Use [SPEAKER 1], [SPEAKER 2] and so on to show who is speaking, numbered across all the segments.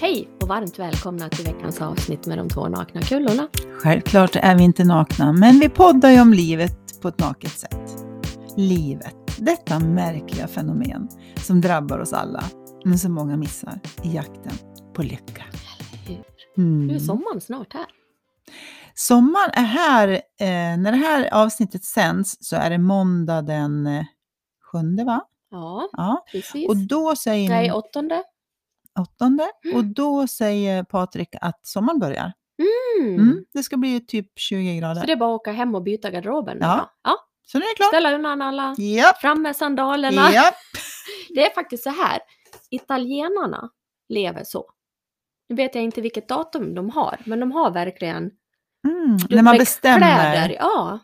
[SPEAKER 1] Hej och varmt välkomna till veckans avsnitt med de två nakna kullorna.
[SPEAKER 2] Självklart är vi inte nakna, men vi poddar ju om livet på ett naket sätt. Livet, detta märkliga fenomen som drabbar oss alla, men som många missar i jakten på lycka.
[SPEAKER 1] Hur?
[SPEAKER 2] Mm.
[SPEAKER 1] Nu är sommaren snart här.
[SPEAKER 2] Sommaren är här. Eh, när det här avsnittet sänds så är det måndag den eh, sjunde, va?
[SPEAKER 1] Ja,
[SPEAKER 2] Ja.
[SPEAKER 1] precis.
[SPEAKER 2] Och då säger
[SPEAKER 1] Nej, åttonde.
[SPEAKER 2] åttonde. Och då säger Patrik att sommaren börjar.
[SPEAKER 1] Mm.
[SPEAKER 2] Mm. Det ska bli typ 20 grader.
[SPEAKER 1] Så det är bara att åka hem och byta garderoben. nu
[SPEAKER 2] Ja.
[SPEAKER 1] då. ja.
[SPEAKER 2] Så nu är det klart.
[SPEAKER 1] Ställa undan alla.
[SPEAKER 2] Japp,
[SPEAKER 1] Fram med sandalerna.
[SPEAKER 2] japp.
[SPEAKER 1] Det är faktiskt så här. Italienarna lever så. Nu vet jag inte vilket datum de har, men de har verkligen
[SPEAKER 2] Mm. När man bestämmer.
[SPEAKER 1] kläder. Ja.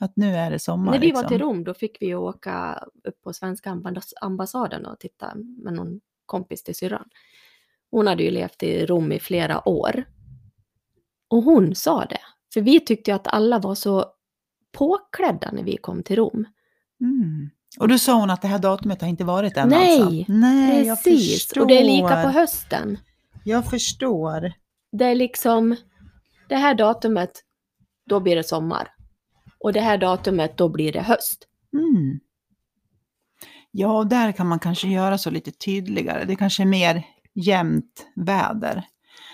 [SPEAKER 2] Att nu är det sommar.
[SPEAKER 1] När vi var
[SPEAKER 2] liksom.
[SPEAKER 1] till Rom då fick vi ju åka upp på svenska ambass- ambassaden och titta med någon kompis till syrran. Hon hade ju levt i Rom i flera år. Och hon sa det. För vi tyckte ju att alla var så påklädda när vi kom till Rom.
[SPEAKER 2] Mm. Och då sa hon att det här datumet har inte varit än
[SPEAKER 1] Nej,
[SPEAKER 2] alltså. Nej, jag
[SPEAKER 1] Precis,
[SPEAKER 2] förstår.
[SPEAKER 1] och det är lika på hösten.
[SPEAKER 2] Jag förstår.
[SPEAKER 1] Det är liksom, det här datumet, då blir det sommar. Och det här datumet, då blir det höst.
[SPEAKER 2] Mm. Ja, och där kan man kanske göra så lite tydligare. Det kanske är mer jämnt väder.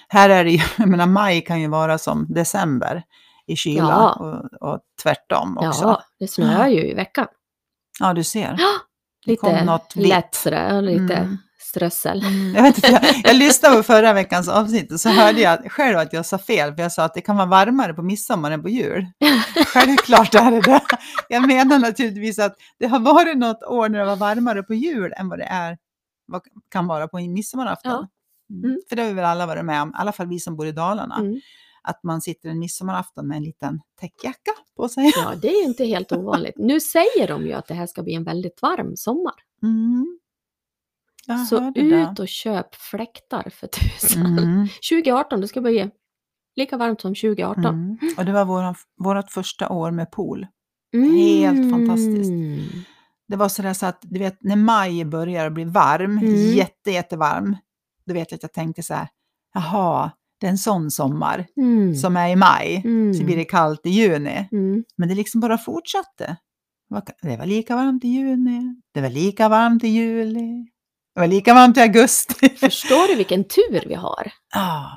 [SPEAKER 2] Här är det ju, jag menar maj kan ju vara som december i kyla
[SPEAKER 1] Ja.
[SPEAKER 2] och, och tvärtom också.
[SPEAKER 1] Ja,
[SPEAKER 2] Ja,
[SPEAKER 1] det snöar ju i veckan.
[SPEAKER 2] du ser. Det
[SPEAKER 1] Lite
[SPEAKER 2] kom något vitt.
[SPEAKER 1] lätt sådär, lite
[SPEAKER 2] Mm.
[SPEAKER 1] strössel.
[SPEAKER 2] Mm, Jag, vet inte, jag, jag lyssnade på förra veckans avsnitt och så hörde jag att- själv att jag sa fel, för jag sa att det kan vara varmare på midsommar än på jul. Självklart är det det. Jag menar naturligtvis att det har varit något år när det var varmare på jul än vad det är, vad kan vara på midsommarafton.
[SPEAKER 1] Ja.
[SPEAKER 2] Mm.
[SPEAKER 1] Mm.
[SPEAKER 2] För det har vi väl alla varit med om, i alla fall vi som bor i Dalarna,
[SPEAKER 1] Mm.
[SPEAKER 2] att man sitter en midsommarafton med en liten täckjacka på sig.
[SPEAKER 1] Ja, det är ju inte helt ovanligt. Nu säger de ju att det här ska bli en väldigt varm sommar.
[SPEAKER 2] Mm. Jag
[SPEAKER 1] så
[SPEAKER 2] hörde det.
[SPEAKER 1] ut och köp fläktar för tusan.
[SPEAKER 2] Mm.
[SPEAKER 1] 2018, det ska bli lika varmt som 2018.
[SPEAKER 2] Mm. Och det var våran, vårat första år med pool.
[SPEAKER 1] Mm.
[SPEAKER 2] Helt fantastiskt. Det var sådär så att, du vet, när maj börjar bli varm,
[SPEAKER 1] Mm.
[SPEAKER 2] jätte, jättevarm, då vet jag att jag tänkte så här, jaha, det är en sån sommar
[SPEAKER 1] Mm.
[SPEAKER 2] som är i maj,
[SPEAKER 1] Mm.
[SPEAKER 2] så blir det kallt i juni.
[SPEAKER 1] Mm.
[SPEAKER 2] Men det liksom bara fortsatte. Det var- Det var lika varmt i juni, det var lika varmt i juli, det var lika varmt i augusti.
[SPEAKER 1] Förstår du vilken tur vi har?
[SPEAKER 2] Ja,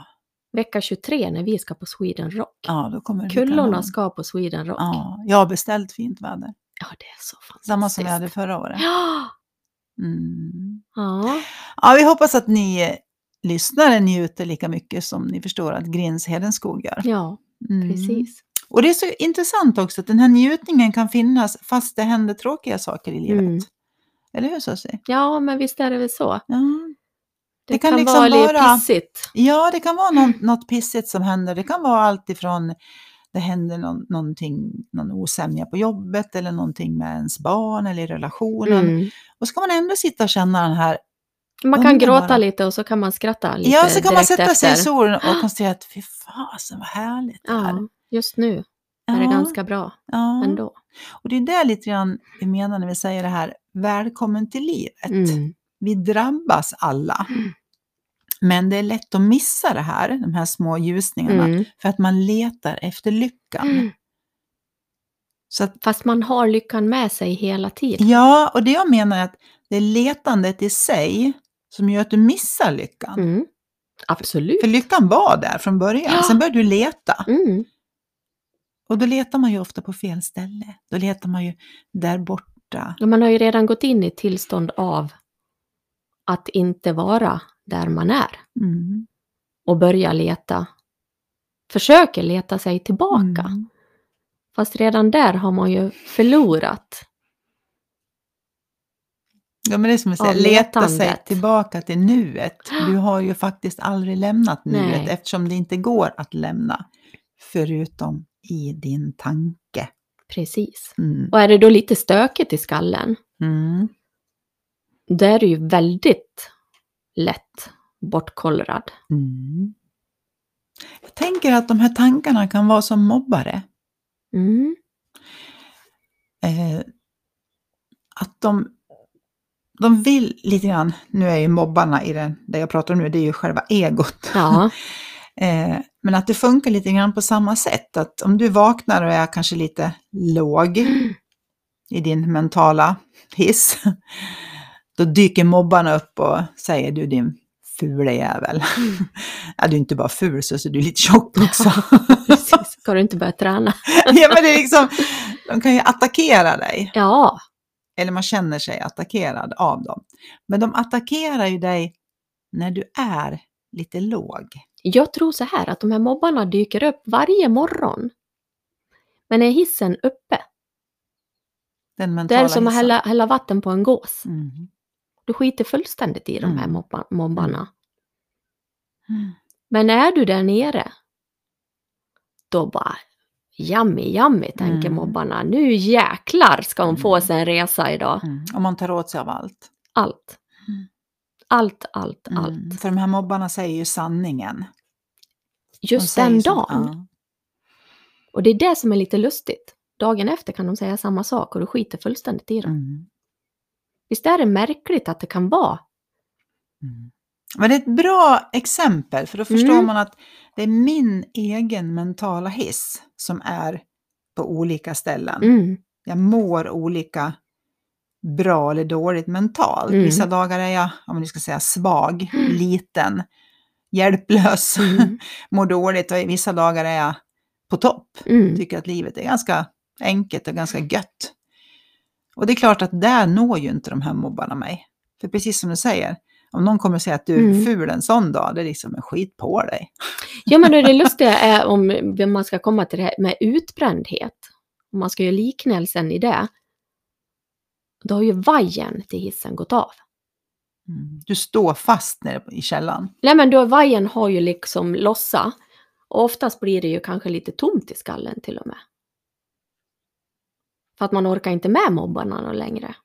[SPEAKER 1] Vecka 23 när vi ska på Sweden Rock.
[SPEAKER 2] ja, då kommer det bli
[SPEAKER 1] Kullorna
[SPEAKER 2] kanon.
[SPEAKER 1] ska på Sweden Rock. Ja,
[SPEAKER 2] Ja, jag har beställt fint väder.
[SPEAKER 1] det är så fantastiskt.
[SPEAKER 2] Samma som vi hade förra året.
[SPEAKER 1] Ja.
[SPEAKER 2] Mm.
[SPEAKER 1] Ja.
[SPEAKER 2] Ja, vi hoppas att ni lyssnare njuter lika mycket som ni förstår att Grins Hedenskog gör.
[SPEAKER 1] ja,
[SPEAKER 2] Mm.
[SPEAKER 1] precis.
[SPEAKER 2] Och det är så intressant också att den här njutningen kan finnas fast det händer tråkiga saker i livet.
[SPEAKER 1] Mm.
[SPEAKER 2] Eller hur Susie?
[SPEAKER 1] Ja, men visst är det väl så.
[SPEAKER 2] Ja.
[SPEAKER 1] Det,
[SPEAKER 2] Det
[SPEAKER 1] kan,
[SPEAKER 2] kan liksom
[SPEAKER 1] vara lite
[SPEAKER 2] vara-
[SPEAKER 1] pissigt.
[SPEAKER 2] ja, det kan vara någon, något pissigt som händer. Det kan vara allt ifrån det händer någon, någonting, någon osämja på jobbet eller någonting med ens barn eller i relationen.
[SPEAKER 1] Mm.
[SPEAKER 2] Och ska man ändå sitta och känna den här
[SPEAKER 1] Man kan
[SPEAKER 2] Underbara.
[SPEAKER 1] gråta lite och så kan man skratta lite
[SPEAKER 2] Ja, så kan man
[SPEAKER 1] direkt
[SPEAKER 2] sätta
[SPEAKER 1] efter.
[SPEAKER 2] sig i solen och konstatera att fy fasen vad härligt det här.
[SPEAKER 1] Ja, just nu är det
[SPEAKER 2] Ja,
[SPEAKER 1] ganska bra
[SPEAKER 2] ja.
[SPEAKER 1] ändå.
[SPEAKER 2] Och det är det lite grann vi menar när vi säger det här, välkommen till livet.
[SPEAKER 1] Mm.
[SPEAKER 2] Vi drabbas alla. Men det är lätt att missa det här, de här små ljusningarna,
[SPEAKER 1] Mm.
[SPEAKER 2] för att man letar efter lyckan.
[SPEAKER 1] Mm.
[SPEAKER 2] Så att,
[SPEAKER 1] Fast man har lyckan med sig hela tiden.
[SPEAKER 2] ja, och det jag menar är att det är letandet i sig som gör att du missar lyckan.
[SPEAKER 1] Mm. Absolut.
[SPEAKER 2] För lyckan var där från början,
[SPEAKER 1] Ja.
[SPEAKER 2] sen började du leta.
[SPEAKER 1] Mm.
[SPEAKER 2] Och då letar man ju ofta på fel ställe. Då letar man ju där borta.
[SPEAKER 1] Ja, Man har ju redan gått in i ett tillstånd av att inte vara där man är
[SPEAKER 2] Mm.
[SPEAKER 1] och börja leta, försöker leta sig tillbaka.
[SPEAKER 2] Mm.
[SPEAKER 1] Fast redan där har man ju förlorat.
[SPEAKER 2] Ja, men det är som att säga,
[SPEAKER 1] Av
[SPEAKER 2] leta sig
[SPEAKER 1] letandet.
[SPEAKER 2] tillbaka till nuet. Du har ju faktiskt aldrig lämnat nuet
[SPEAKER 1] Nej.
[SPEAKER 2] eftersom det inte går att lämna. Förutom i din tanke.
[SPEAKER 1] Precis.
[SPEAKER 2] Mm.
[SPEAKER 1] Och är det då lite stökigt i skallen,
[SPEAKER 2] Mm.
[SPEAKER 1] då är du ju väldigt lätt bortkollrad.
[SPEAKER 2] Mm. Jag tänker att de här tankarna kan vara som mobbare.
[SPEAKER 1] Mm.
[SPEAKER 2] eh, att de de vill lite grann, nu är ju mobbarna i den, det jag pratar om nu, det är ju själva egot.
[SPEAKER 1] Ja,
[SPEAKER 2] Eh, men att det funkar lite grann på samma sätt, att om du vaknar och är kanske lite låg i din mentala hiss, då dyker mobbarna upp och säger du din fula jävel.
[SPEAKER 1] Mm.
[SPEAKER 2] ja, du är inte bara ful så, så du är lite tjock också.
[SPEAKER 1] precis. Ska du inte börja träna?
[SPEAKER 2] ja, men det är liksom, de kan ju attackera dig,
[SPEAKER 1] Ja,
[SPEAKER 2] eller man känner sig attackerad av dem. Men de attackerar ju dig när du är lite låg.
[SPEAKER 1] jag tror så här att de här mobbarna dyker upp varje morgon. Men är hissen uppe?
[SPEAKER 2] Den
[SPEAKER 1] Det
[SPEAKER 2] mentala
[SPEAKER 1] är som att
[SPEAKER 2] hissen.
[SPEAKER 1] hälla, hälla vatten på en gås.
[SPEAKER 2] Mm.
[SPEAKER 1] Du skiter fullständigt i de här
[SPEAKER 2] Mm.
[SPEAKER 1] mobba, mobbarna.
[SPEAKER 2] Mm.
[SPEAKER 1] Men är du där nere, då bara yummy, yummy, tänker
[SPEAKER 2] Mm.
[SPEAKER 1] mobbarna. Nu jäklar ska hon få
[SPEAKER 2] Mm.
[SPEAKER 1] sig en resa idag.
[SPEAKER 2] Mm. Och man tar åt sig av allt.
[SPEAKER 1] Allt.
[SPEAKER 2] Mm.
[SPEAKER 1] Allt, allt,
[SPEAKER 2] Mm.
[SPEAKER 1] allt.
[SPEAKER 2] För de här mobbarna säger ju sanningen. De
[SPEAKER 1] Just
[SPEAKER 2] säger
[SPEAKER 1] den
[SPEAKER 2] som-
[SPEAKER 1] dagen. Och det är det som är lite lustigt. Dagen efter kan de säga samma sak och du skiter fullständigt i
[SPEAKER 2] Ja.
[SPEAKER 1] dem.
[SPEAKER 2] Mm.
[SPEAKER 1] Visst är det märkligt att det kan vara?
[SPEAKER 2] Mm. Men det är ett bra exempel, för då förstår
[SPEAKER 1] Mm.
[SPEAKER 2] man att det är min egen mentala hiss som är på olika ställen.
[SPEAKER 1] Mm,
[SPEAKER 2] Jag mår olika bra eller dåligt mentalt.
[SPEAKER 1] Mm.
[SPEAKER 2] Vissa dagar är jag, om du ska säga svag, liten, hjälplös,
[SPEAKER 1] mm,
[SPEAKER 2] mår dåligt och i vissa dagar är jag på topp.
[SPEAKER 1] mm,
[SPEAKER 2] tycker att livet är ganska enkelt och ganska gött. Och det är klart att där når ju inte de här mobbarna mig. För precis som du säger, om någon kommer och säger att du är
[SPEAKER 1] Mm.
[SPEAKER 2] ful en sån dag, det är liksom en skit på dig.
[SPEAKER 1] Ja, men det lustiga är om man ska komma till det här med utbrändhet. Om man ska göra liknelsen i det. Då har ju vajern till hissen gått av.
[SPEAKER 2] Mm. Du står fast nere i källan.
[SPEAKER 1] Nej, men då vajern har ju liksom lossa. Och oftast blir det ju kanske lite tomt i skallen till och med. För att man orkar inte med mobbarna någon längre.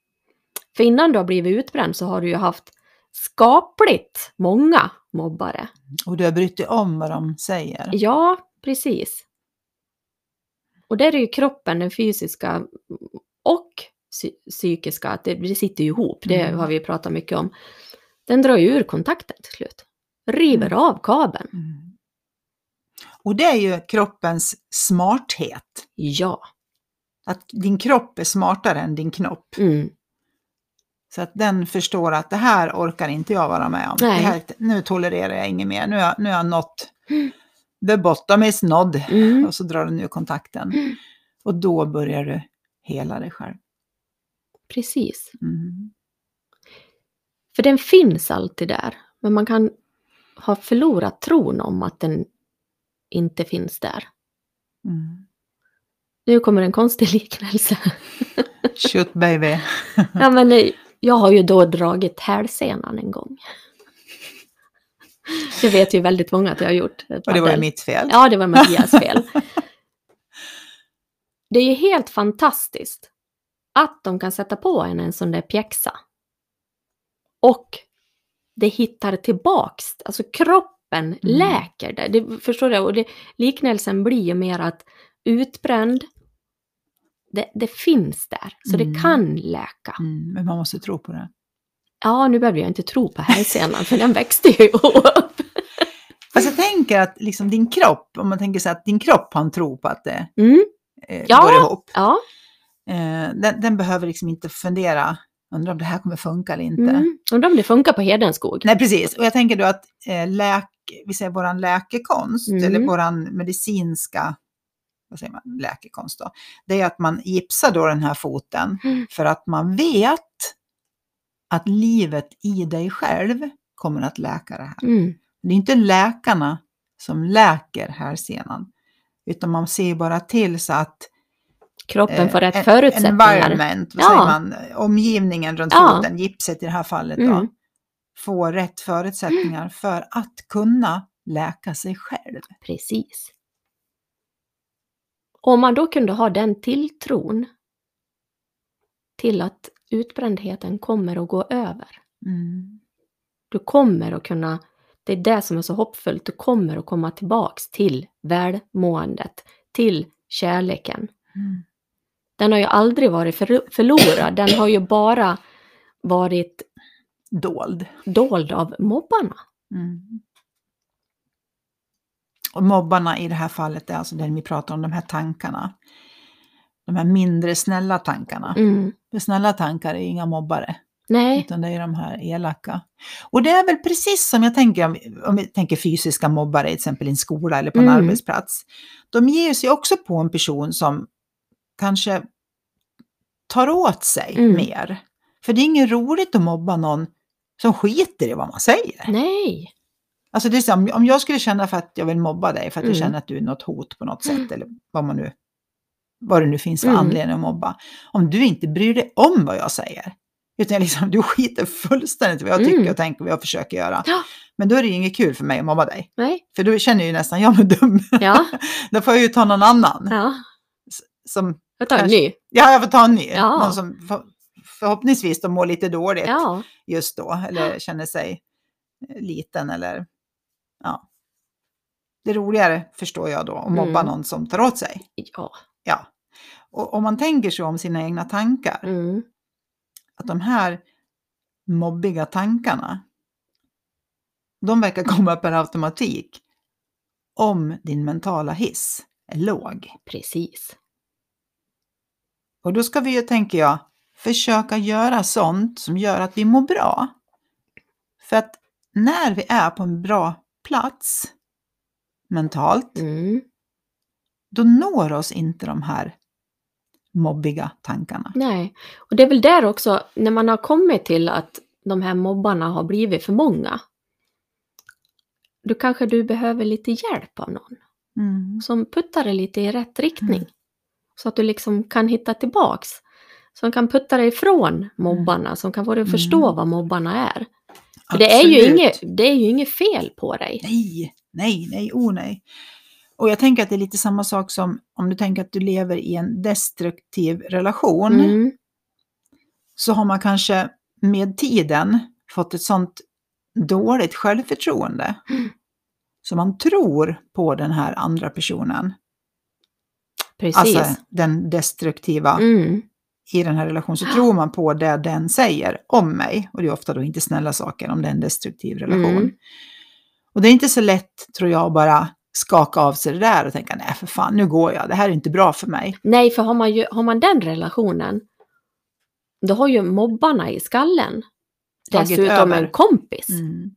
[SPEAKER 1] För innan du har blivit utbränd så har du ju haft skapligt många mobbare.
[SPEAKER 2] Och du har brytt dig om vad de säger.
[SPEAKER 1] Ja, precis. Och där är ju kroppen, den fysiska och psy- psykiska, att det, det sitter ju ihop, det
[SPEAKER 2] Mm.
[SPEAKER 1] har vi ju pratat mycket om. Den drar ju ur kontakten till slut. River
[SPEAKER 2] Mm.
[SPEAKER 1] av kabeln.
[SPEAKER 2] Mm. Och det är ju kroppens smarthet.
[SPEAKER 1] Ja.
[SPEAKER 2] Att din kropp är smartare än din knopp.
[SPEAKER 1] Mm.
[SPEAKER 2] Så att den förstår att det här orkar inte jag vara med om. Det
[SPEAKER 1] Nej.
[SPEAKER 2] här, nu tolererar jag inget mer. Nu har, nu har jag nått the bottom is nådd.
[SPEAKER 1] Mm.
[SPEAKER 2] Och så drar den ur kontakten.
[SPEAKER 1] Mm.
[SPEAKER 2] Och då börjar du hela dig själv.
[SPEAKER 1] Precis.
[SPEAKER 2] Mm.
[SPEAKER 1] För den finns alltid där. Men man kan ha förlorat tron om att den inte finns där.
[SPEAKER 2] Mm.
[SPEAKER 1] Nu kommer en konstig liknelse.
[SPEAKER 2] Shoot baby.
[SPEAKER 1] Ja, men eh, jag har ju då dragit hälsenan en gång. Det vet ju väldigt många att jag har gjort. eh,
[SPEAKER 2] Och det var ju mitt fel.
[SPEAKER 1] Ja, det var Mattias fel. Det är ju helt fantastiskt att de kan sätta på en en sån där pjäxa. Och det hittar tillbaks, alltså kroppen
[SPEAKER 2] Mm.
[SPEAKER 1] läker det. det förstår du? Och det, liknelsen blir ju mer att utbränd, det, det finns där, så det
[SPEAKER 2] Mm.
[SPEAKER 1] kan läka.
[SPEAKER 2] Mm, men man måste tro på det.
[SPEAKER 1] Ja, nu behöver jag inte tro på hälsenan, för den växte ju upp.
[SPEAKER 2] Fast jag tänker att liksom din kropp, om man tänker så här, att din kropp har en tro på att det
[SPEAKER 1] Mm,
[SPEAKER 2] eh,
[SPEAKER 1] Ja.
[SPEAKER 2] går ihop.
[SPEAKER 1] ja,
[SPEAKER 2] Eh, den, den behöver liksom inte fundera, undrar om det här kommer funka eller inte.
[SPEAKER 1] mm. undrar om det funkar på Hedenskog.
[SPEAKER 2] Nej, precis. Och jag tänker då att eh, läk, vi säger våran läkekonst,
[SPEAKER 1] Mm.
[SPEAKER 2] eller våran medicinska, vad säger man, läkekonst då, det är att man gipsar då den här foten
[SPEAKER 1] Mm.
[SPEAKER 2] för att man vet att livet i dig själv kommer att läka det här.
[SPEAKER 1] Mm.
[SPEAKER 2] Det är inte läkarna som läker här senan, utan man ser bara till så att
[SPEAKER 1] Kroppen får rätt
[SPEAKER 2] Eh, en-
[SPEAKER 1] förutsättningar.
[SPEAKER 2] Environment, vad
[SPEAKER 1] Ja.
[SPEAKER 2] säger man, omgivningen runt
[SPEAKER 1] Ja.
[SPEAKER 2] foten, gipset i det här fallet
[SPEAKER 1] Mm.
[SPEAKER 2] då, får rätt förutsättningar för att kunna läka sig själv.
[SPEAKER 1] Precis. Om man då kunde ha den tilltron till att utbrändheten kommer att gå över.
[SPEAKER 2] Mm.
[SPEAKER 1] Du kommer att kunna, det är det som är så hoppfullt, du kommer att komma tillbaks till välmåendet, till kärleken.
[SPEAKER 2] Mm.
[SPEAKER 1] Den har ju aldrig varit för, förlorad, den har ju bara varit
[SPEAKER 2] Dold.
[SPEAKER 1] dold av mobbarna.
[SPEAKER 2] Mm. Och mobbarna i det här fallet är alltså den vi pratar om, de här tankarna. De här mindre snälla tankarna.
[SPEAKER 1] Mm.
[SPEAKER 2] För snälla tankar är inga mobbare,
[SPEAKER 1] Nej,
[SPEAKER 2] utan det är de här elaka. Och det är väl precis som jag tänker, om, om vi tänker fysiska mobbare, till exempel i en skola eller på en
[SPEAKER 1] Mm.
[SPEAKER 2] arbetsplats. De ger sig också på en person som kanske tar åt sig
[SPEAKER 1] Mm.
[SPEAKER 2] mer. För det är inget roligt att mobba någon som skiter i vad man säger.
[SPEAKER 1] nej.
[SPEAKER 2] Alltså det är som, om jag skulle känna för att jag vill mobba dig för att jag
[SPEAKER 1] Mm.
[SPEAKER 2] känner att du är något hot på något sätt eller vad man nu vad det nu finns för
[SPEAKER 1] Mm.
[SPEAKER 2] anledning att mobba. Om du inte bryr dig om vad jag säger, utan liksom, du skiter fullständigt i vad jag
[SPEAKER 1] Mm.
[SPEAKER 2] tycker och tänker och vad jag försöker göra.
[SPEAKER 1] Ja.
[SPEAKER 2] Men då är det ju inget kul för mig att mobba dig.
[SPEAKER 1] Nej,
[SPEAKER 2] För då känner jag ju nästan jag mig dum.
[SPEAKER 1] ja,
[SPEAKER 2] Då får jag ju ta någon annan.
[SPEAKER 1] ja.
[SPEAKER 2] Som,
[SPEAKER 1] Jag tar en
[SPEAKER 2] Kanske.
[SPEAKER 1] ny.
[SPEAKER 2] ja, jag får ta en ny.
[SPEAKER 1] Ja.
[SPEAKER 2] Någon som för, förhoppningsvis då mår lite dåligt
[SPEAKER 1] Ja,
[SPEAKER 2] just då eller känner sig eh, liten eller ja. Det är roligare förstår jag då att mobba
[SPEAKER 1] Mm.
[SPEAKER 2] någon som tar åt sig.
[SPEAKER 1] ja.
[SPEAKER 2] Ja. Och om man tänker sig om sina egna tankar,
[SPEAKER 1] Mm.
[SPEAKER 2] att de här mobbiga tankarna, de verkar komma per automatik om din mentala hiss är låg.
[SPEAKER 1] precis.
[SPEAKER 2] Och då ska vi ju, tänker jag, försöka göra sånt som gör att vi mår bra. För att när vi är på en bra plats mentalt,
[SPEAKER 1] Mm.
[SPEAKER 2] då når oss inte de här mobbiga tankarna.
[SPEAKER 1] Nej, och det är väl där också, när man har kommit till att de här mobbarna har blivit för många, då kanske du behöver lite hjälp av någon
[SPEAKER 2] Mm.
[SPEAKER 1] som puttar dig lite i rätt riktning.
[SPEAKER 2] Mm.
[SPEAKER 1] Så att du liksom kan hitta tillbaks. Som kan putta dig ifrån mobbarna, som kan få dig att förstå
[SPEAKER 2] Mm.
[SPEAKER 1] vad mobbarna är. För det är, ju
[SPEAKER 2] Absolut.
[SPEAKER 1] inget, det är ju inget fel på dig.
[SPEAKER 2] Nej, nej, nej, oh nej. Och jag tänker att det är lite samma sak som om du tänker att du lever i en destruktiv relation.
[SPEAKER 1] Mm.
[SPEAKER 2] så har man kanske med tiden fått ett sånt dåligt självförtroende.
[SPEAKER 1] Mm.
[SPEAKER 2] Så man tror på den här andra personen,
[SPEAKER 1] Precis.
[SPEAKER 2] alltså den destruktiva
[SPEAKER 1] mm.
[SPEAKER 2] i den här relationen, så tror man på det den säger om mig. Och det är ofta då inte snälla saker om det är en destruktiv relation.
[SPEAKER 1] Mm.
[SPEAKER 2] Och det är inte så lätt, tror jag, att bara skaka av sig det där och tänka nej för fan, nu går jag, det här är inte bra för mig.
[SPEAKER 1] Nej, för har man, ju, har man den relationen, då har ju mobbarna i skallen
[SPEAKER 2] Tagit
[SPEAKER 1] dessutom
[SPEAKER 2] över.
[SPEAKER 1] en kompis
[SPEAKER 2] Mm.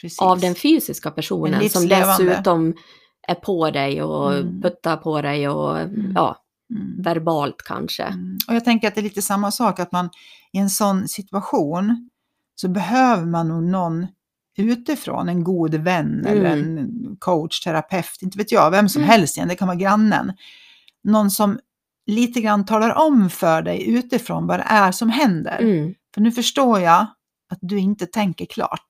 [SPEAKER 2] Precis.
[SPEAKER 1] av den fysiska
[SPEAKER 2] En
[SPEAKER 1] personen som
[SPEAKER 2] livslevande.
[SPEAKER 1] dessutom är på dig och
[SPEAKER 2] Mm.
[SPEAKER 1] puttar på dig och
[SPEAKER 2] Mm.
[SPEAKER 1] ja,
[SPEAKER 2] Mm.
[SPEAKER 1] verbalt kanske.
[SPEAKER 2] Mm. Och jag tänker att det är lite samma sak, att man i en sån situation så behöver man nog någon utifrån, en god vän eller
[SPEAKER 1] Mm.
[SPEAKER 2] en coach, terapeut, inte vet jag, vem som
[SPEAKER 1] Mm.
[SPEAKER 2] helst igen, det kan vara grannen. Någon som lite grann talar om för dig utifrån vad det är som händer.
[SPEAKER 1] Mm.
[SPEAKER 2] För nu förstår jag att du inte tänker klart.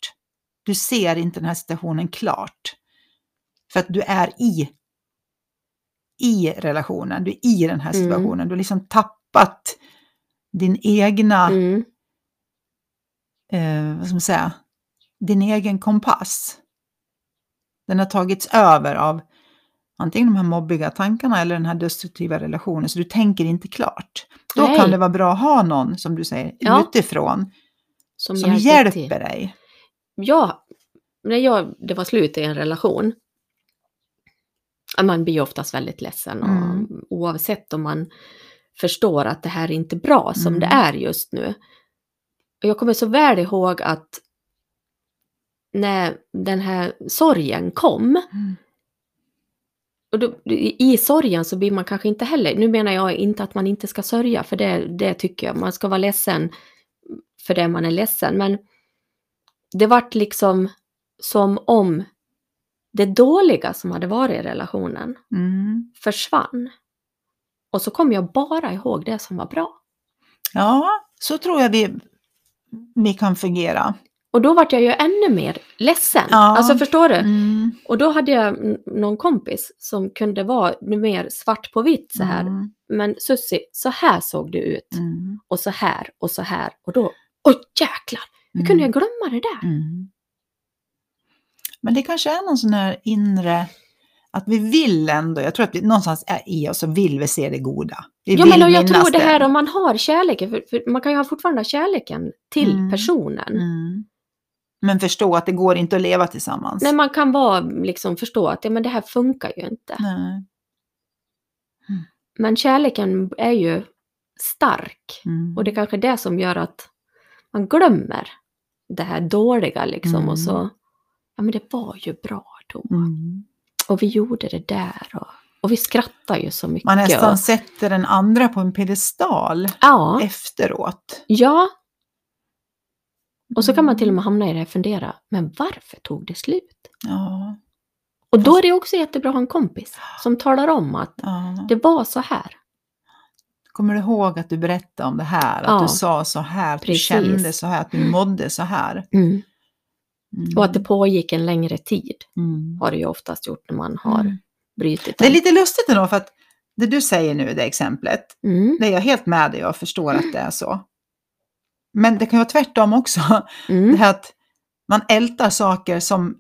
[SPEAKER 2] Du ser inte den här situationen klart. För att du är i, i relationen, du är i den här
[SPEAKER 1] Mm.
[SPEAKER 2] situationen. Du har liksom tappat din egna,
[SPEAKER 1] Mm.
[SPEAKER 2] eh, vad ska man säga, din egen kompass. Den har tagits över av antingen de här mobbiga tankarna eller den här destruktiva relationen, så du tänker inte klart. Då
[SPEAKER 1] Nej.
[SPEAKER 2] kan det vara bra att ha någon, som du säger,
[SPEAKER 1] Ja.
[SPEAKER 2] utifrån
[SPEAKER 1] Som,
[SPEAKER 2] som
[SPEAKER 1] hjälper
[SPEAKER 2] hjälper
[SPEAKER 1] till.
[SPEAKER 2] dig.
[SPEAKER 1] Ja, när jag, det var slut i en relation. ja, Man blir ju oftast väldigt ledsen och
[SPEAKER 2] Mm.
[SPEAKER 1] oavsett om man förstår att det här är inte bra som
[SPEAKER 2] Mm.
[SPEAKER 1] det är just nu. Och jag kommer så väl ihåg att när den här sorgen kom, och då, i sorgen så blir man kanske inte heller, nu menar jag inte att man inte ska sörja, för det, det tycker jag, man ska vara ledsen för det man är ledsen, men det vart liksom som om det dåliga som hade varit i relationen
[SPEAKER 2] Mm.
[SPEAKER 1] försvann. Och så kom jag bara ihåg det som var bra.
[SPEAKER 2] Ja, så tror jag vi, vi kan fungera.
[SPEAKER 1] Och då vart jag ju ännu mer ledsen.
[SPEAKER 2] Ja.
[SPEAKER 1] Alltså förstår du?
[SPEAKER 2] Mm.
[SPEAKER 1] Och då hade jag n- någon kompis som kunde vara mer svart på vitt så här.
[SPEAKER 2] Mm.
[SPEAKER 1] Men Sussi, så här såg det ut.
[SPEAKER 2] Mm.
[SPEAKER 1] och så här och så här och då, oj jäklar, hur kunde jag glömma det där?
[SPEAKER 2] Mm. Men det kanske är någon sån här inre Att vi vill ändå, jag tror att vi någonstans är i oss så vill vi se det goda. Vi
[SPEAKER 1] Jo,
[SPEAKER 2] vill
[SPEAKER 1] men och jag
[SPEAKER 2] minnas
[SPEAKER 1] tror det här om man har kärleken, för, för man kan ju ha fortfarande ha kärleken till
[SPEAKER 2] Mm.
[SPEAKER 1] personen.
[SPEAKER 2] Mm. Men förstå att det går inte att leva tillsammans.
[SPEAKER 1] När man kan vara, liksom, förstå att ja, men det här funkar ju inte.
[SPEAKER 2] Nej.
[SPEAKER 1] Men kärleken är ju stark.
[SPEAKER 2] Mm.
[SPEAKER 1] Och det är kanske är det som gör att man glömmer det här dåliga liksom.
[SPEAKER 2] Mm.
[SPEAKER 1] Och så, ja men det var ju bra då.
[SPEAKER 2] Mm.
[SPEAKER 1] Och vi gjorde det där. Och, och vi skrattar ju så mycket.
[SPEAKER 2] Man nästan
[SPEAKER 1] och,
[SPEAKER 2] sätter den andra på en piedestal
[SPEAKER 1] ja,
[SPEAKER 2] efteråt.
[SPEAKER 1] ja, och
[SPEAKER 2] Mm.
[SPEAKER 1] så kan man till och med hamna i det här och fundera, men varför tog det slut?
[SPEAKER 2] Mm. Ja,
[SPEAKER 1] Och då är det också jättebra att ha en kompis som talar om att
[SPEAKER 2] ja.
[SPEAKER 1] det var så här.
[SPEAKER 2] Kommer du ihåg att du berättade om det här? Att
[SPEAKER 1] Ja.
[SPEAKER 2] du sa så här, att du
[SPEAKER 1] Precis.
[SPEAKER 2] kände så här, att du mådde så här.
[SPEAKER 1] Mm.
[SPEAKER 2] Mm.
[SPEAKER 1] Och att det pågick en längre tid
[SPEAKER 2] Mm.
[SPEAKER 1] har det ju oftast gjort när man har
[SPEAKER 2] Mm.
[SPEAKER 1] brutit
[SPEAKER 2] Det är
[SPEAKER 1] den.
[SPEAKER 2] lite lustigt ändå, för att det du säger nu, det exemplet,
[SPEAKER 1] Mm,
[SPEAKER 2] det är jag helt med dig och förstår att det är så. Men det kan ju vara tvärtom också. Det
[SPEAKER 1] mm,
[SPEAKER 2] här att man ältar saker som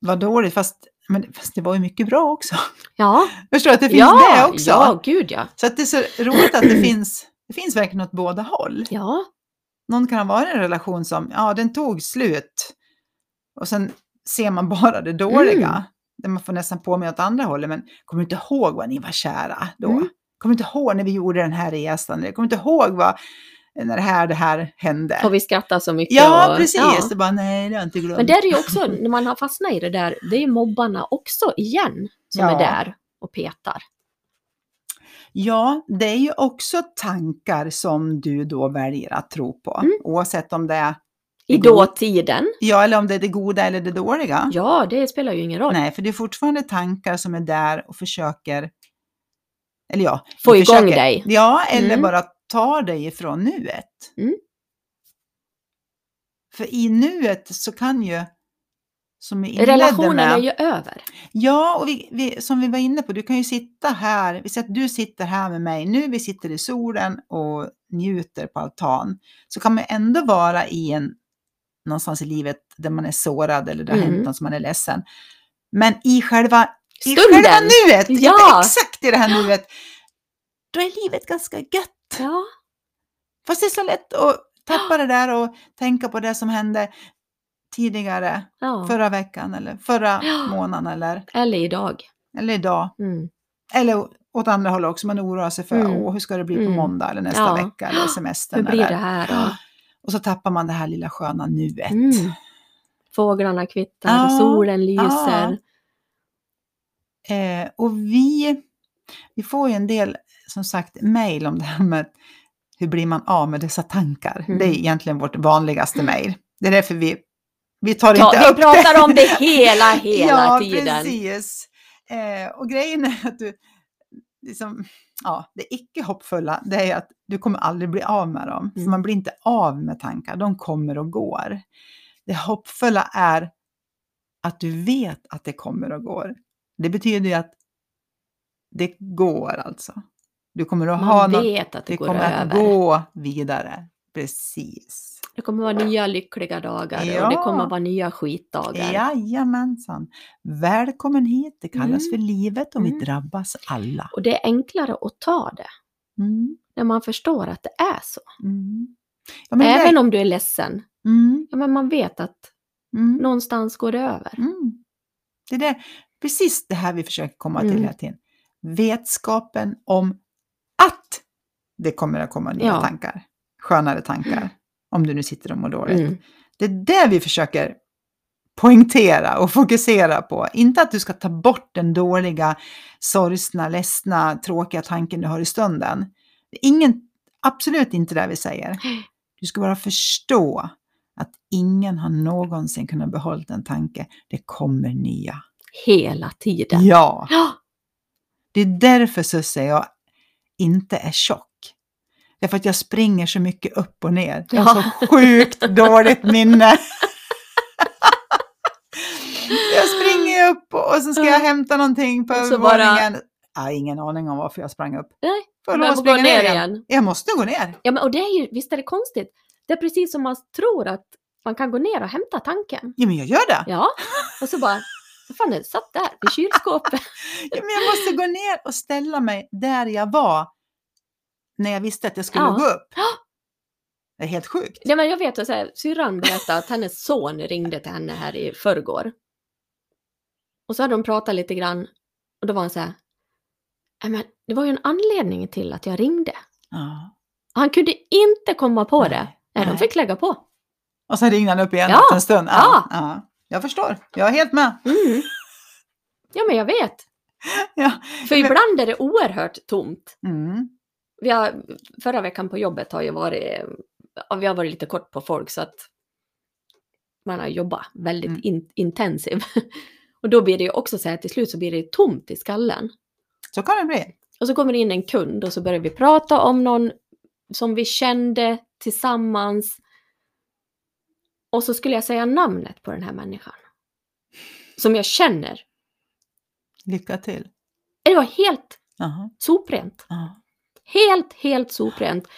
[SPEAKER 2] var dåligt, fast, men, fast det var ju mycket bra också.
[SPEAKER 1] ja,
[SPEAKER 2] Förstår du att det finns
[SPEAKER 1] ja,
[SPEAKER 2] det också?
[SPEAKER 1] ja, gud ja.
[SPEAKER 2] Så att det är så roligt att det finns, det finns verkligen åt båda håll.
[SPEAKER 1] Ja,
[SPEAKER 2] Någon kan vara i en relation som, ja, den tog slut. Och sen ser man bara det dåliga.
[SPEAKER 1] Mm.
[SPEAKER 2] Där man får nästan på mig åt andra hållet, men kommer du inte ihåg vad ni var kära då?
[SPEAKER 1] Mm.
[SPEAKER 2] Kommer du inte ihåg när vi gjorde den här resan? Eller kommer du inte ihåg vad, när det här, det här hände?
[SPEAKER 1] och vi skrattar så mycket.
[SPEAKER 2] Ja,
[SPEAKER 1] och,
[SPEAKER 2] precis.
[SPEAKER 1] ja.
[SPEAKER 2] Det bara, nej, det har jag inte glömt.
[SPEAKER 1] Men där är ju också, när man har fastnat i det där, det är ju mobbarna också igen som
[SPEAKER 2] Ja.
[SPEAKER 1] är där och petar.
[SPEAKER 2] Ja, det är ju också tankar som du då väljer att tro på.
[SPEAKER 1] Mm.
[SPEAKER 2] Oavsett om det är,
[SPEAKER 1] I
[SPEAKER 2] Det går-
[SPEAKER 1] dåtiden,
[SPEAKER 2] ja, eller om det är det goda eller det dåliga.
[SPEAKER 1] ja det spelar ju ingen roll.
[SPEAKER 2] Nej, för det är fortfarande tankar som är där och försöker, eller ja.
[SPEAKER 1] Få igång
[SPEAKER 2] försöker,
[SPEAKER 1] dig.
[SPEAKER 2] Ja, eller
[SPEAKER 1] Mm.
[SPEAKER 2] bara ta dig ifrån nuet.
[SPEAKER 1] Mm.
[SPEAKER 2] För i nuet så kan ju, som vi inledde
[SPEAKER 1] Relationen
[SPEAKER 2] med,
[SPEAKER 1] är ju över.
[SPEAKER 2] Ja, och vi, vi, som vi var inne på, du kan ju sitta här, vi säger att du sitter här med mig nu, vi sitter i solen och njuter på altan, så kan man ändå vara i en, någonstans i livet där man är sårad eller det har
[SPEAKER 1] Mm.
[SPEAKER 2] hänt något som man är ledsen. Men i själva, i
[SPEAKER 1] Stunden.
[SPEAKER 2] själva nuet,
[SPEAKER 1] Ja.
[SPEAKER 2] ja. exakt i det här nuet, då är livet ganska gött.
[SPEAKER 1] Ja,
[SPEAKER 2] Fast det är så lätt att tappa det där och tänka på det som hände tidigare,
[SPEAKER 1] ja.
[SPEAKER 2] förra veckan eller förra
[SPEAKER 1] Ja.
[SPEAKER 2] månaden eller,
[SPEAKER 1] eller idag.
[SPEAKER 2] eller idag.
[SPEAKER 1] Mm.
[SPEAKER 2] Eller åt andra hållet också, man oroar sig för
[SPEAKER 1] Mm.
[SPEAKER 2] Åh, hur ska det bli på
[SPEAKER 1] Mm.
[SPEAKER 2] måndag eller nästa
[SPEAKER 1] Ja.
[SPEAKER 2] vecka eller semestern.
[SPEAKER 1] Hur blir
[SPEAKER 2] eller...
[SPEAKER 1] det här då?
[SPEAKER 2] Och så tappar man det här lilla sköna nuet.
[SPEAKER 1] Mm. Fåglarna kvittar,
[SPEAKER 2] Ja,
[SPEAKER 1] solen lyser.
[SPEAKER 2] Eh, och vi, vi får ju en del, som sagt, mejl om det här med hur blir man av med dessa tankar.
[SPEAKER 1] Mm.
[SPEAKER 2] Det är egentligen vårt vanligaste mejl. Det är därför vi, vi tar
[SPEAKER 1] Ta,
[SPEAKER 2] inte upp
[SPEAKER 1] vi pratar
[SPEAKER 2] det.
[SPEAKER 1] om det hela, hela
[SPEAKER 2] ja,
[SPEAKER 1] tiden.
[SPEAKER 2] precis. Eh, och grejen är att du, liksom, ja, det icke hoppfulla, det är att du kommer aldrig bli av med dem. För
[SPEAKER 1] Mm.
[SPEAKER 2] man blir inte av med tankar, de kommer och går. Det hoppfulla är att du vet att det kommer och går. Det betyder ju att det går alltså. Du kommer att ha
[SPEAKER 1] Man
[SPEAKER 2] något,
[SPEAKER 1] vet att det,
[SPEAKER 2] det
[SPEAKER 1] går
[SPEAKER 2] kommer
[SPEAKER 1] över.
[SPEAKER 2] att gå vidare. Precis.
[SPEAKER 1] Det kommer vara nya lyckliga dagar och
[SPEAKER 2] Ja.
[SPEAKER 1] det kommer vara nya skitdagar.
[SPEAKER 2] Jajamensan. Välkommen hit, det kallas
[SPEAKER 1] Mm.
[SPEAKER 2] för livet och
[SPEAKER 1] Mm.
[SPEAKER 2] vi drabbas alla.
[SPEAKER 1] Och det är enklare att ta det
[SPEAKER 2] Mm.
[SPEAKER 1] när man förstår att det är så.
[SPEAKER 2] Mm. Ja, men
[SPEAKER 1] Även
[SPEAKER 2] det-
[SPEAKER 1] om du är ledsen,
[SPEAKER 2] Mm.
[SPEAKER 1] ja, men man vet att
[SPEAKER 2] Mm.
[SPEAKER 1] någonstans går det över.
[SPEAKER 2] Mm. Det är det, precis det här vi försöker komma till
[SPEAKER 1] Mm.
[SPEAKER 2] hela tiden. Vetskapen om att det kommer att komma nya
[SPEAKER 1] Ja.
[SPEAKER 2] tankar, skönare tankar, om du nu sitter och mår dåligt.
[SPEAKER 1] Mm.
[SPEAKER 2] Det är det vi försöker poängtera och fokusera på. Inte att du ska ta bort den dåliga, sorgsna, ledsna, tråkiga tanken du har i stunden. Det är ingen, absolut inte det vi säger. Du ska bara förstå att ingen har någonsin kunnat behålla en tanke. Det kommer nya.
[SPEAKER 1] Hela tiden.
[SPEAKER 2] Ja,
[SPEAKER 1] Ja.
[SPEAKER 2] det är därför Susse jag inte är tjock. Därför att jag springer så mycket upp och ner. Jag har så sjukt dåligt minne. Jag springer upp och och sen ska jag hämta någonting på
[SPEAKER 1] Och så
[SPEAKER 2] övervåningen. Jag har ingen aning om varför jag sprang upp.
[SPEAKER 1] Nej,
[SPEAKER 2] Får jag lov
[SPEAKER 1] Men
[SPEAKER 2] att
[SPEAKER 1] gå
[SPEAKER 2] springa
[SPEAKER 1] ner igen. igen.
[SPEAKER 2] Jag måste gå ner.
[SPEAKER 1] Ja, men, och det är ju, visst är det konstigt? Det är precis som man tror att man kan gå ner och hämta tanken.
[SPEAKER 2] Ja, men jag gör det.
[SPEAKER 1] Ja, och så bara, Vad fan, den satt där vid kylskåpet.
[SPEAKER 2] Ja, men jag måste gå ner och ställa mig där jag var när jag visste att jag skulle
[SPEAKER 1] Ja.
[SPEAKER 2] gå upp.
[SPEAKER 1] Ja.
[SPEAKER 2] Det är helt sjukt.
[SPEAKER 1] Ja, men jag vet att så här, syrran berättade att hennes son ringde till henne här i förrgår. Och så hade de pratat lite grann och då var han så här. "Nej, Men det var ju en anledning till att jag ringde.
[SPEAKER 2] Ja.
[SPEAKER 1] Och Han kunde inte komma på det. Nej, de
[SPEAKER 2] nej.
[SPEAKER 1] fick lägga på.
[SPEAKER 2] Och så ringde han upp igen
[SPEAKER 1] Ja,
[SPEAKER 2] efter en stund.
[SPEAKER 1] ja.
[SPEAKER 2] ja. Jag förstår, jag är helt med.
[SPEAKER 1] Mm. Ja, men jag vet.
[SPEAKER 2] Ja.
[SPEAKER 1] För
[SPEAKER 2] Men-
[SPEAKER 1] ibland är det oerhört tomt.
[SPEAKER 2] Mm.
[SPEAKER 1] Vi har, förra veckan på jobbet har ju varit, ja, vi har varit lite kort på folk så att man har jobbat väldigt
[SPEAKER 2] Mm.
[SPEAKER 1] in, intensivt. Och då blir det ju också så här till slut så blir det ju tomt i skallen.
[SPEAKER 2] Så kan det bli.
[SPEAKER 1] Och så kommer det in en kund och så börjar vi prata om någon som vi kände tillsammans. Och så skulle jag säga namnet på den här människan. Som jag känner.
[SPEAKER 2] Lycka till.
[SPEAKER 1] Det var helt
[SPEAKER 2] Jaha.
[SPEAKER 1] soprent.
[SPEAKER 2] Ja.
[SPEAKER 1] Helt, helt soprent.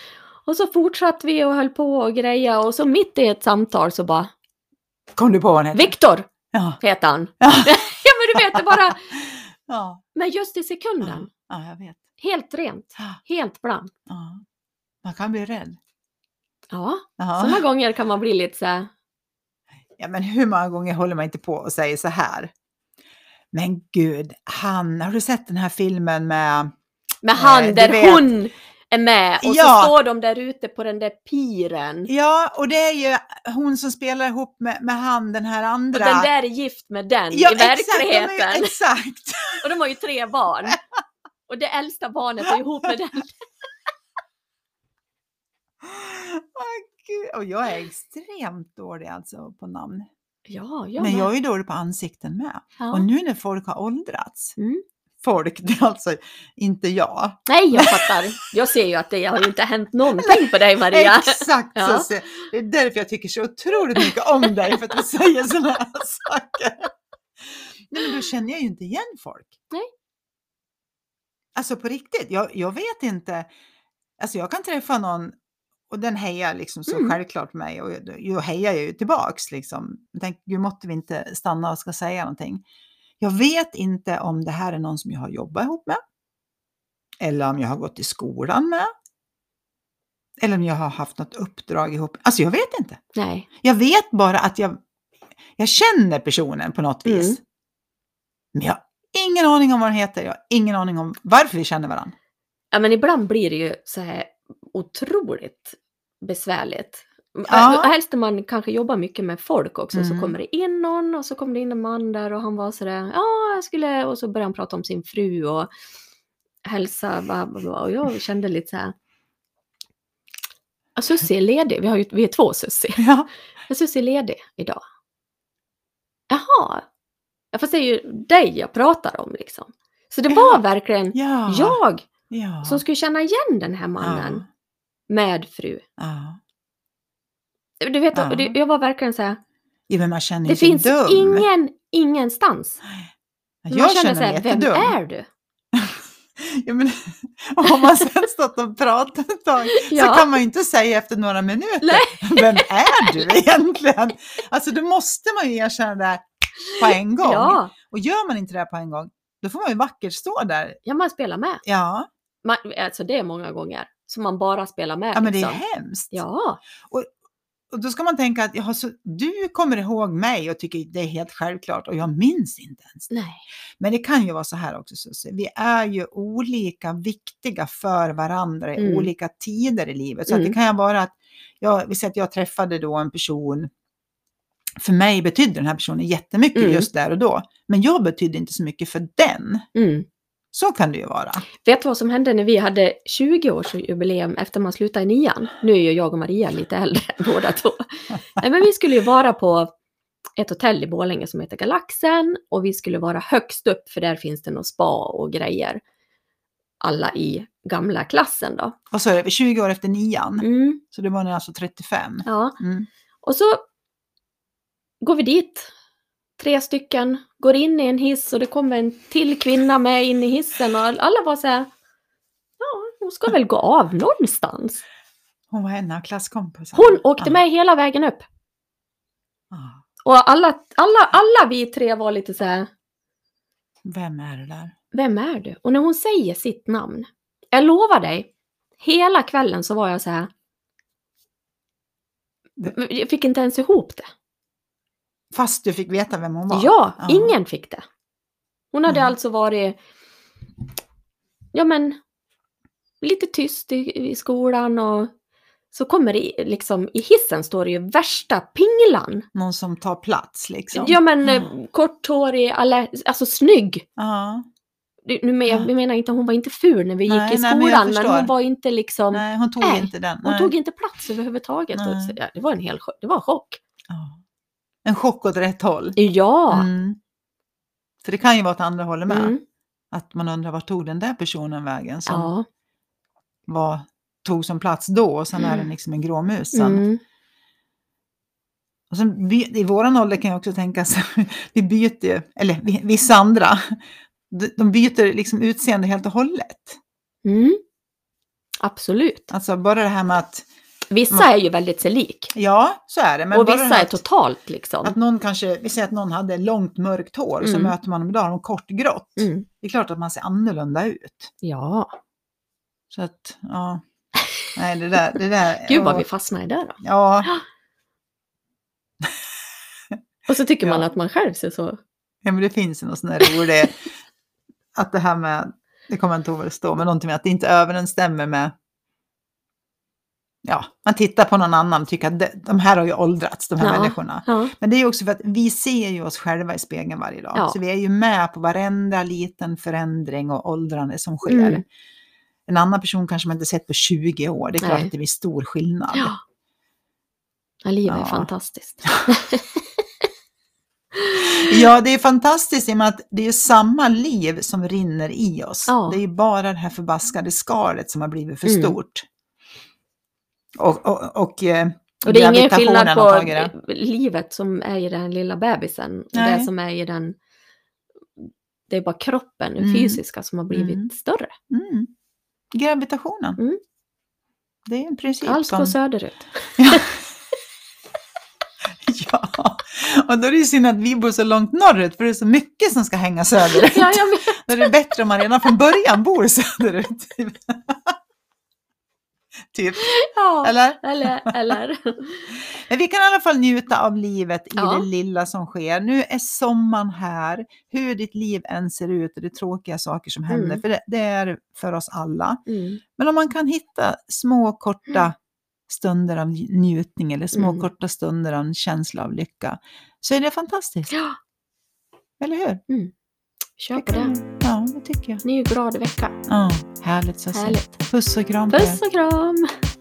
[SPEAKER 1] Och så fortsatte vi och höll på och greja och så mitt i ett samtal så bara
[SPEAKER 2] Kom du på vad han hette?
[SPEAKER 1] Viktor
[SPEAKER 2] Ja.
[SPEAKER 1] heter han.
[SPEAKER 2] Ja.
[SPEAKER 1] ja men du vet det bara.
[SPEAKER 2] Ja.
[SPEAKER 1] Men just i
[SPEAKER 2] ja.
[SPEAKER 1] sekunden.
[SPEAKER 2] ja, jag vet.
[SPEAKER 1] Helt rent.
[SPEAKER 2] Ja.
[SPEAKER 1] Helt blankt.
[SPEAKER 2] Ja. Man kan bli rädd.
[SPEAKER 1] Ja, sådana
[SPEAKER 2] Ja.
[SPEAKER 1] gånger kan man bli lite så här.
[SPEAKER 2] ja, men hur många gånger håller man inte på och säger så här? Men gud, han, har du sett den här filmen med...
[SPEAKER 1] Med
[SPEAKER 2] Nej,
[SPEAKER 1] han
[SPEAKER 2] Eh, du
[SPEAKER 1] där
[SPEAKER 2] vet.
[SPEAKER 1] hon är med och
[SPEAKER 2] Ja.
[SPEAKER 1] så står de där ute på den där piren.
[SPEAKER 2] Ja, och det är ju hon som spelar ihop med, med han, den här
[SPEAKER 1] Och
[SPEAKER 2] andra.
[SPEAKER 1] den där är gift med den
[SPEAKER 2] ja,
[SPEAKER 1] i verkligheten.
[SPEAKER 2] Exakt, de är ju- exakt.
[SPEAKER 1] Och de har ju tre barn. Och det äldsta barnet är ihop med den.
[SPEAKER 2] Åh, Gud. Och jag är extremt dålig alltså på namn.
[SPEAKER 1] Ja, jag
[SPEAKER 2] men
[SPEAKER 1] med.
[SPEAKER 2] jag är ju dålig på ansikten med.
[SPEAKER 1] ja.
[SPEAKER 2] Och nu när folk har åldrats,
[SPEAKER 1] Mm.
[SPEAKER 2] folk, det är alltså inte jag.
[SPEAKER 1] Nej, jag fattar. Jag ser ju att det har ju inte hänt någonting på dig Maria.
[SPEAKER 2] Exakt
[SPEAKER 1] Ja.
[SPEAKER 2] så ser Det är därför jag tycker så otroligt mycket om dig, för att du säger sådana här saker. Nej, men då känner jag ju inte igen folk.
[SPEAKER 1] Nej.
[SPEAKER 2] Alltså på riktigt, jag, jag vet inte. Alltså jag kan träffa någon och den hejar liksom så
[SPEAKER 1] Mm.
[SPEAKER 2] självklart på mig och jag, då hejar jag ju tillbaks liksom. Jag tänker, gud måtte vi inte stanna och ska säga någonting. Jag vet inte om det här är någon som jag har jobbat ihop med. Eller om jag har gått i skolan med. Eller om jag har haft något uppdrag ihop. Alltså jag vet inte.
[SPEAKER 1] Nej.
[SPEAKER 2] Jag vet bara att jag, jag känner personen på något vis.
[SPEAKER 1] Mm.
[SPEAKER 2] Men jag har ingen aning om vad den heter. Jag har ingen aning om varför vi känner varandra.
[SPEAKER 1] Ja, men ibland blir det ju så här otroligt besvärligt.
[SPEAKER 2] Ja.
[SPEAKER 1] Och Helst när man kanske jobbar mycket med folk också så
[SPEAKER 2] Mm.
[SPEAKER 1] kommer det in någon och så kommer det in en man där och han var sådär, ja jag skulle, och så började han prata om sin fru och hälsa, bla, bla, bla. och jag kände lite så här. "Ja, Sussie är ledig, vi, har ju, vi är två Sussie.
[SPEAKER 2] Ja.
[SPEAKER 1] Jag Sussie är ledig idag. Jaha. Ja, fast det är ju dig jag pratar om liksom. Så det var verkligen
[SPEAKER 2] Ja.
[SPEAKER 1] jag
[SPEAKER 2] ja.
[SPEAKER 1] som skulle känna igen den här mannen med fru.
[SPEAKER 2] Ja.
[SPEAKER 1] Du vet,
[SPEAKER 2] Ja.
[SPEAKER 1] och det, jag var verkligen så här,
[SPEAKER 2] ja. Men man känner
[SPEAKER 1] det
[SPEAKER 2] ju sig
[SPEAKER 1] finns
[SPEAKER 2] dum.
[SPEAKER 1] ingen, ingenstans.
[SPEAKER 2] Jag
[SPEAKER 1] Man
[SPEAKER 2] känner
[SPEAKER 1] känner så
[SPEAKER 2] mig
[SPEAKER 1] här, vem
[SPEAKER 2] jättedum.
[SPEAKER 1] är du?
[SPEAKER 2] Ja, men, om man sen stått och pratat ett tag så
[SPEAKER 1] Ja.
[SPEAKER 2] kan man ju inte säga efter några minuter, vem är du egentligen? Alltså då måste man ju erkänna det här på en gång.
[SPEAKER 1] Ja,
[SPEAKER 2] Och gör man inte det här på en gång, då får man ju vackert stå där.
[SPEAKER 1] ja, man spelar med.
[SPEAKER 2] Ja,
[SPEAKER 1] Man, alltså det är många gånger som man bara spelar med.
[SPEAKER 2] ja men det är
[SPEAKER 1] liksom.
[SPEAKER 2] hemskt.
[SPEAKER 1] Ja,
[SPEAKER 2] Och då ska man tänka att jaha, så du kommer ihåg mig och tycker det är helt självklart och jag minns inte ens.
[SPEAKER 1] nej.
[SPEAKER 2] Men det kan ju vara så här också Susie, vi är ju olika viktiga för varandra i
[SPEAKER 1] Mm.
[SPEAKER 2] olika tider i livet. Så att det
[SPEAKER 1] Mm.
[SPEAKER 2] kan ju vara att, jag, vi säger att jag träffade då en person, för mig betydde den här personen jättemycket
[SPEAKER 1] Mm.
[SPEAKER 2] just där och då, men jag betydde inte så mycket för den.
[SPEAKER 1] Mm.
[SPEAKER 2] Så kan det ju vara.
[SPEAKER 1] Vet du vad som hände när vi hade 20-årsjubileum efter man slutade i nian? Nu är ju jag och Maria lite äldre båda två. Nej, men vi skulle ju vara på ett hotell i Borlänge som heter Galaxen och vi skulle vara högst upp för där finns det något spa och grejer. Alla i gamla klassen då.
[SPEAKER 2] Vad sa du, 20 år efter nian?
[SPEAKER 1] Mm,
[SPEAKER 2] Så det var när alltså 35.
[SPEAKER 1] ja.
[SPEAKER 2] Mm.
[SPEAKER 1] Och så går vi dit, tre stycken, går in i en hiss och det kommer en till kvinna med in i hissen och alla var så här, ja, hon ska väl gå av någonstans.
[SPEAKER 2] Hon var en av klasskompisarna.
[SPEAKER 1] Hon åkte
[SPEAKER 2] Ja.
[SPEAKER 1] med hela vägen upp.
[SPEAKER 2] Ja.
[SPEAKER 1] Och alla, alla, alla vi tre var lite så här,
[SPEAKER 2] Vem är det där?
[SPEAKER 1] Vem är du? Och när hon säger sitt namn, jag lovar dig, hela kvällen så var jag så här. Jag fick inte ens ihop det.
[SPEAKER 2] Fast du fick veta vem hon var?
[SPEAKER 1] Ja, ingen fick det. Hon hade
[SPEAKER 2] Mm.
[SPEAKER 1] alltså varit, ja men, lite tyst i, i skolan och så kommer det i- liksom, i hissen står det ju värsta pinglan.
[SPEAKER 2] Någon som tar plats liksom?
[SPEAKER 1] Ja men
[SPEAKER 2] Mm.
[SPEAKER 1] mm. korthårig, alla- alltså snygg.
[SPEAKER 2] Ja.
[SPEAKER 1] Det- Nu men, jag
[SPEAKER 2] Ja.
[SPEAKER 1] menar inte, hon var inte ful när vi
[SPEAKER 2] Nej,
[SPEAKER 1] gick i
[SPEAKER 2] nej, men
[SPEAKER 1] skolan,
[SPEAKER 2] jag
[SPEAKER 1] men,
[SPEAKER 2] förstår.
[SPEAKER 1] hon var inte liksom,
[SPEAKER 2] Nej, hon tog
[SPEAKER 1] Nej,
[SPEAKER 2] inte den.
[SPEAKER 1] hon
[SPEAKER 2] Nej.
[SPEAKER 1] tog inte plats överhuvudtaget. Och,
[SPEAKER 2] Nej.
[SPEAKER 1] så- ja, det var en hel chock, det var en chock.
[SPEAKER 2] Ja. En chock åt rätt håll.
[SPEAKER 1] Ja!
[SPEAKER 2] Mm. För det kan ju vara åt andra hållet med.
[SPEAKER 1] Mm.
[SPEAKER 2] Att man undrar vart tog den där personen vägen som
[SPEAKER 1] Ja.
[SPEAKER 2] var, tog som plats då och sen är
[SPEAKER 1] Mm.
[SPEAKER 2] den liksom en gråmus sen.
[SPEAKER 1] Mm.
[SPEAKER 2] Och sen, by- I våran ålder kan jag också tänka så vi byter ju, eller vi- vissa andra, de- de byter liksom utseende helt och hållet.
[SPEAKER 1] Mm. Absolut.
[SPEAKER 2] Alltså bara det här med att,
[SPEAKER 1] Vissa
[SPEAKER 2] Man-
[SPEAKER 1] är ju väldigt sig lik.
[SPEAKER 2] ja så är det, men
[SPEAKER 1] och
[SPEAKER 2] bara det
[SPEAKER 1] vissa
[SPEAKER 2] här
[SPEAKER 1] är
[SPEAKER 2] att,
[SPEAKER 1] totalt liksom.
[SPEAKER 2] att någon kanske, vi säger att någon hade långt mörkt hår och så
[SPEAKER 1] Mm.
[SPEAKER 2] möter man dem idag, har de kort grått.
[SPEAKER 1] Mm.
[SPEAKER 2] Det är klart att man ser annorlunda ut.
[SPEAKER 1] Ja,
[SPEAKER 2] Så att, ja. Nej, det där, det där.
[SPEAKER 1] gud vad
[SPEAKER 2] ja.
[SPEAKER 1] vi fastnade där då.
[SPEAKER 2] Ja,
[SPEAKER 1] Och så tycker man
[SPEAKER 2] Ja.
[SPEAKER 1] att man själv ser så...
[SPEAKER 2] ja, men det finns ju någon sån där rolig, att det här med, det kommer jag inte ihåg vad det står, men någonting med att det inte överensstämmer med, ja, man tittar på någon annan och tycker att de, de här har ju åldrats, de här
[SPEAKER 1] Ja.
[SPEAKER 2] människorna.
[SPEAKER 1] Ja,
[SPEAKER 2] Men det är ju också för att vi ser ju oss själva i spegeln varje dag,
[SPEAKER 1] Ja.
[SPEAKER 2] så vi är ju med på varenda liten förändring och åldrande som sker.
[SPEAKER 1] Mm.
[SPEAKER 2] En annan person kanske man inte sett på 20 år, det är klart
[SPEAKER 1] Nej.
[SPEAKER 2] att det blir stor skillnad.
[SPEAKER 1] ja. ja livet är
[SPEAKER 2] Ja.
[SPEAKER 1] fantastiskt.
[SPEAKER 2] Ja, det är fantastiskt i och med att det är samma liv som rinner i oss.
[SPEAKER 1] Ja.
[SPEAKER 2] Det är ju bara det här förbaskade skalet som har blivit för
[SPEAKER 1] Mm.
[SPEAKER 2] stort. Och, och, och, eh,
[SPEAKER 1] Och det är ingen
[SPEAKER 2] gravitationen
[SPEAKER 1] skillnad
[SPEAKER 2] har
[SPEAKER 1] på
[SPEAKER 2] tagit det.
[SPEAKER 1] livet som är i den lilla bebisen och
[SPEAKER 2] Nej.
[SPEAKER 1] det som är i den... Det är bara kroppen, den
[SPEAKER 2] Mm.
[SPEAKER 1] fysiska, som har blivit
[SPEAKER 2] Mm.
[SPEAKER 1] större.
[SPEAKER 2] Mm. Gravitationen.
[SPEAKER 1] Mm.
[SPEAKER 2] Det är en princip
[SPEAKER 1] Allt
[SPEAKER 2] som...
[SPEAKER 1] går söderut.
[SPEAKER 2] Ja, och då är det ju synd att vi bor så långt norrut för det är så mycket som ska hänga söderut.
[SPEAKER 1] Ja, jag vet.
[SPEAKER 2] Då är det bättre om man redan från början bor söderut. typ,
[SPEAKER 1] Ja.
[SPEAKER 2] eller?
[SPEAKER 1] Eller, eller.
[SPEAKER 2] Men vi kan i alla fall njuta av livet i
[SPEAKER 1] Ja.
[SPEAKER 2] det lilla som sker. Nu är sommaren här, hur ditt liv än ser ut och det är tråkiga saker som händer,
[SPEAKER 1] Mm.
[SPEAKER 2] för det, det är det för oss alla.
[SPEAKER 1] Mm.
[SPEAKER 2] Men om man kan hitta små korta
[SPEAKER 1] Mm.
[SPEAKER 2] stunder av nj- njutning eller små
[SPEAKER 1] Mm.
[SPEAKER 2] korta stunder av en känsla av lycka, så är det fantastiskt.
[SPEAKER 1] Ja.
[SPEAKER 2] Eller hur?
[SPEAKER 1] Kör på det.
[SPEAKER 2] kan- Ja, det tycker jag.
[SPEAKER 1] Ny glad vecka.
[SPEAKER 2] Ja, härligt Susie.
[SPEAKER 1] Härligt.
[SPEAKER 2] Puss och kram på er.
[SPEAKER 1] Puss och kram!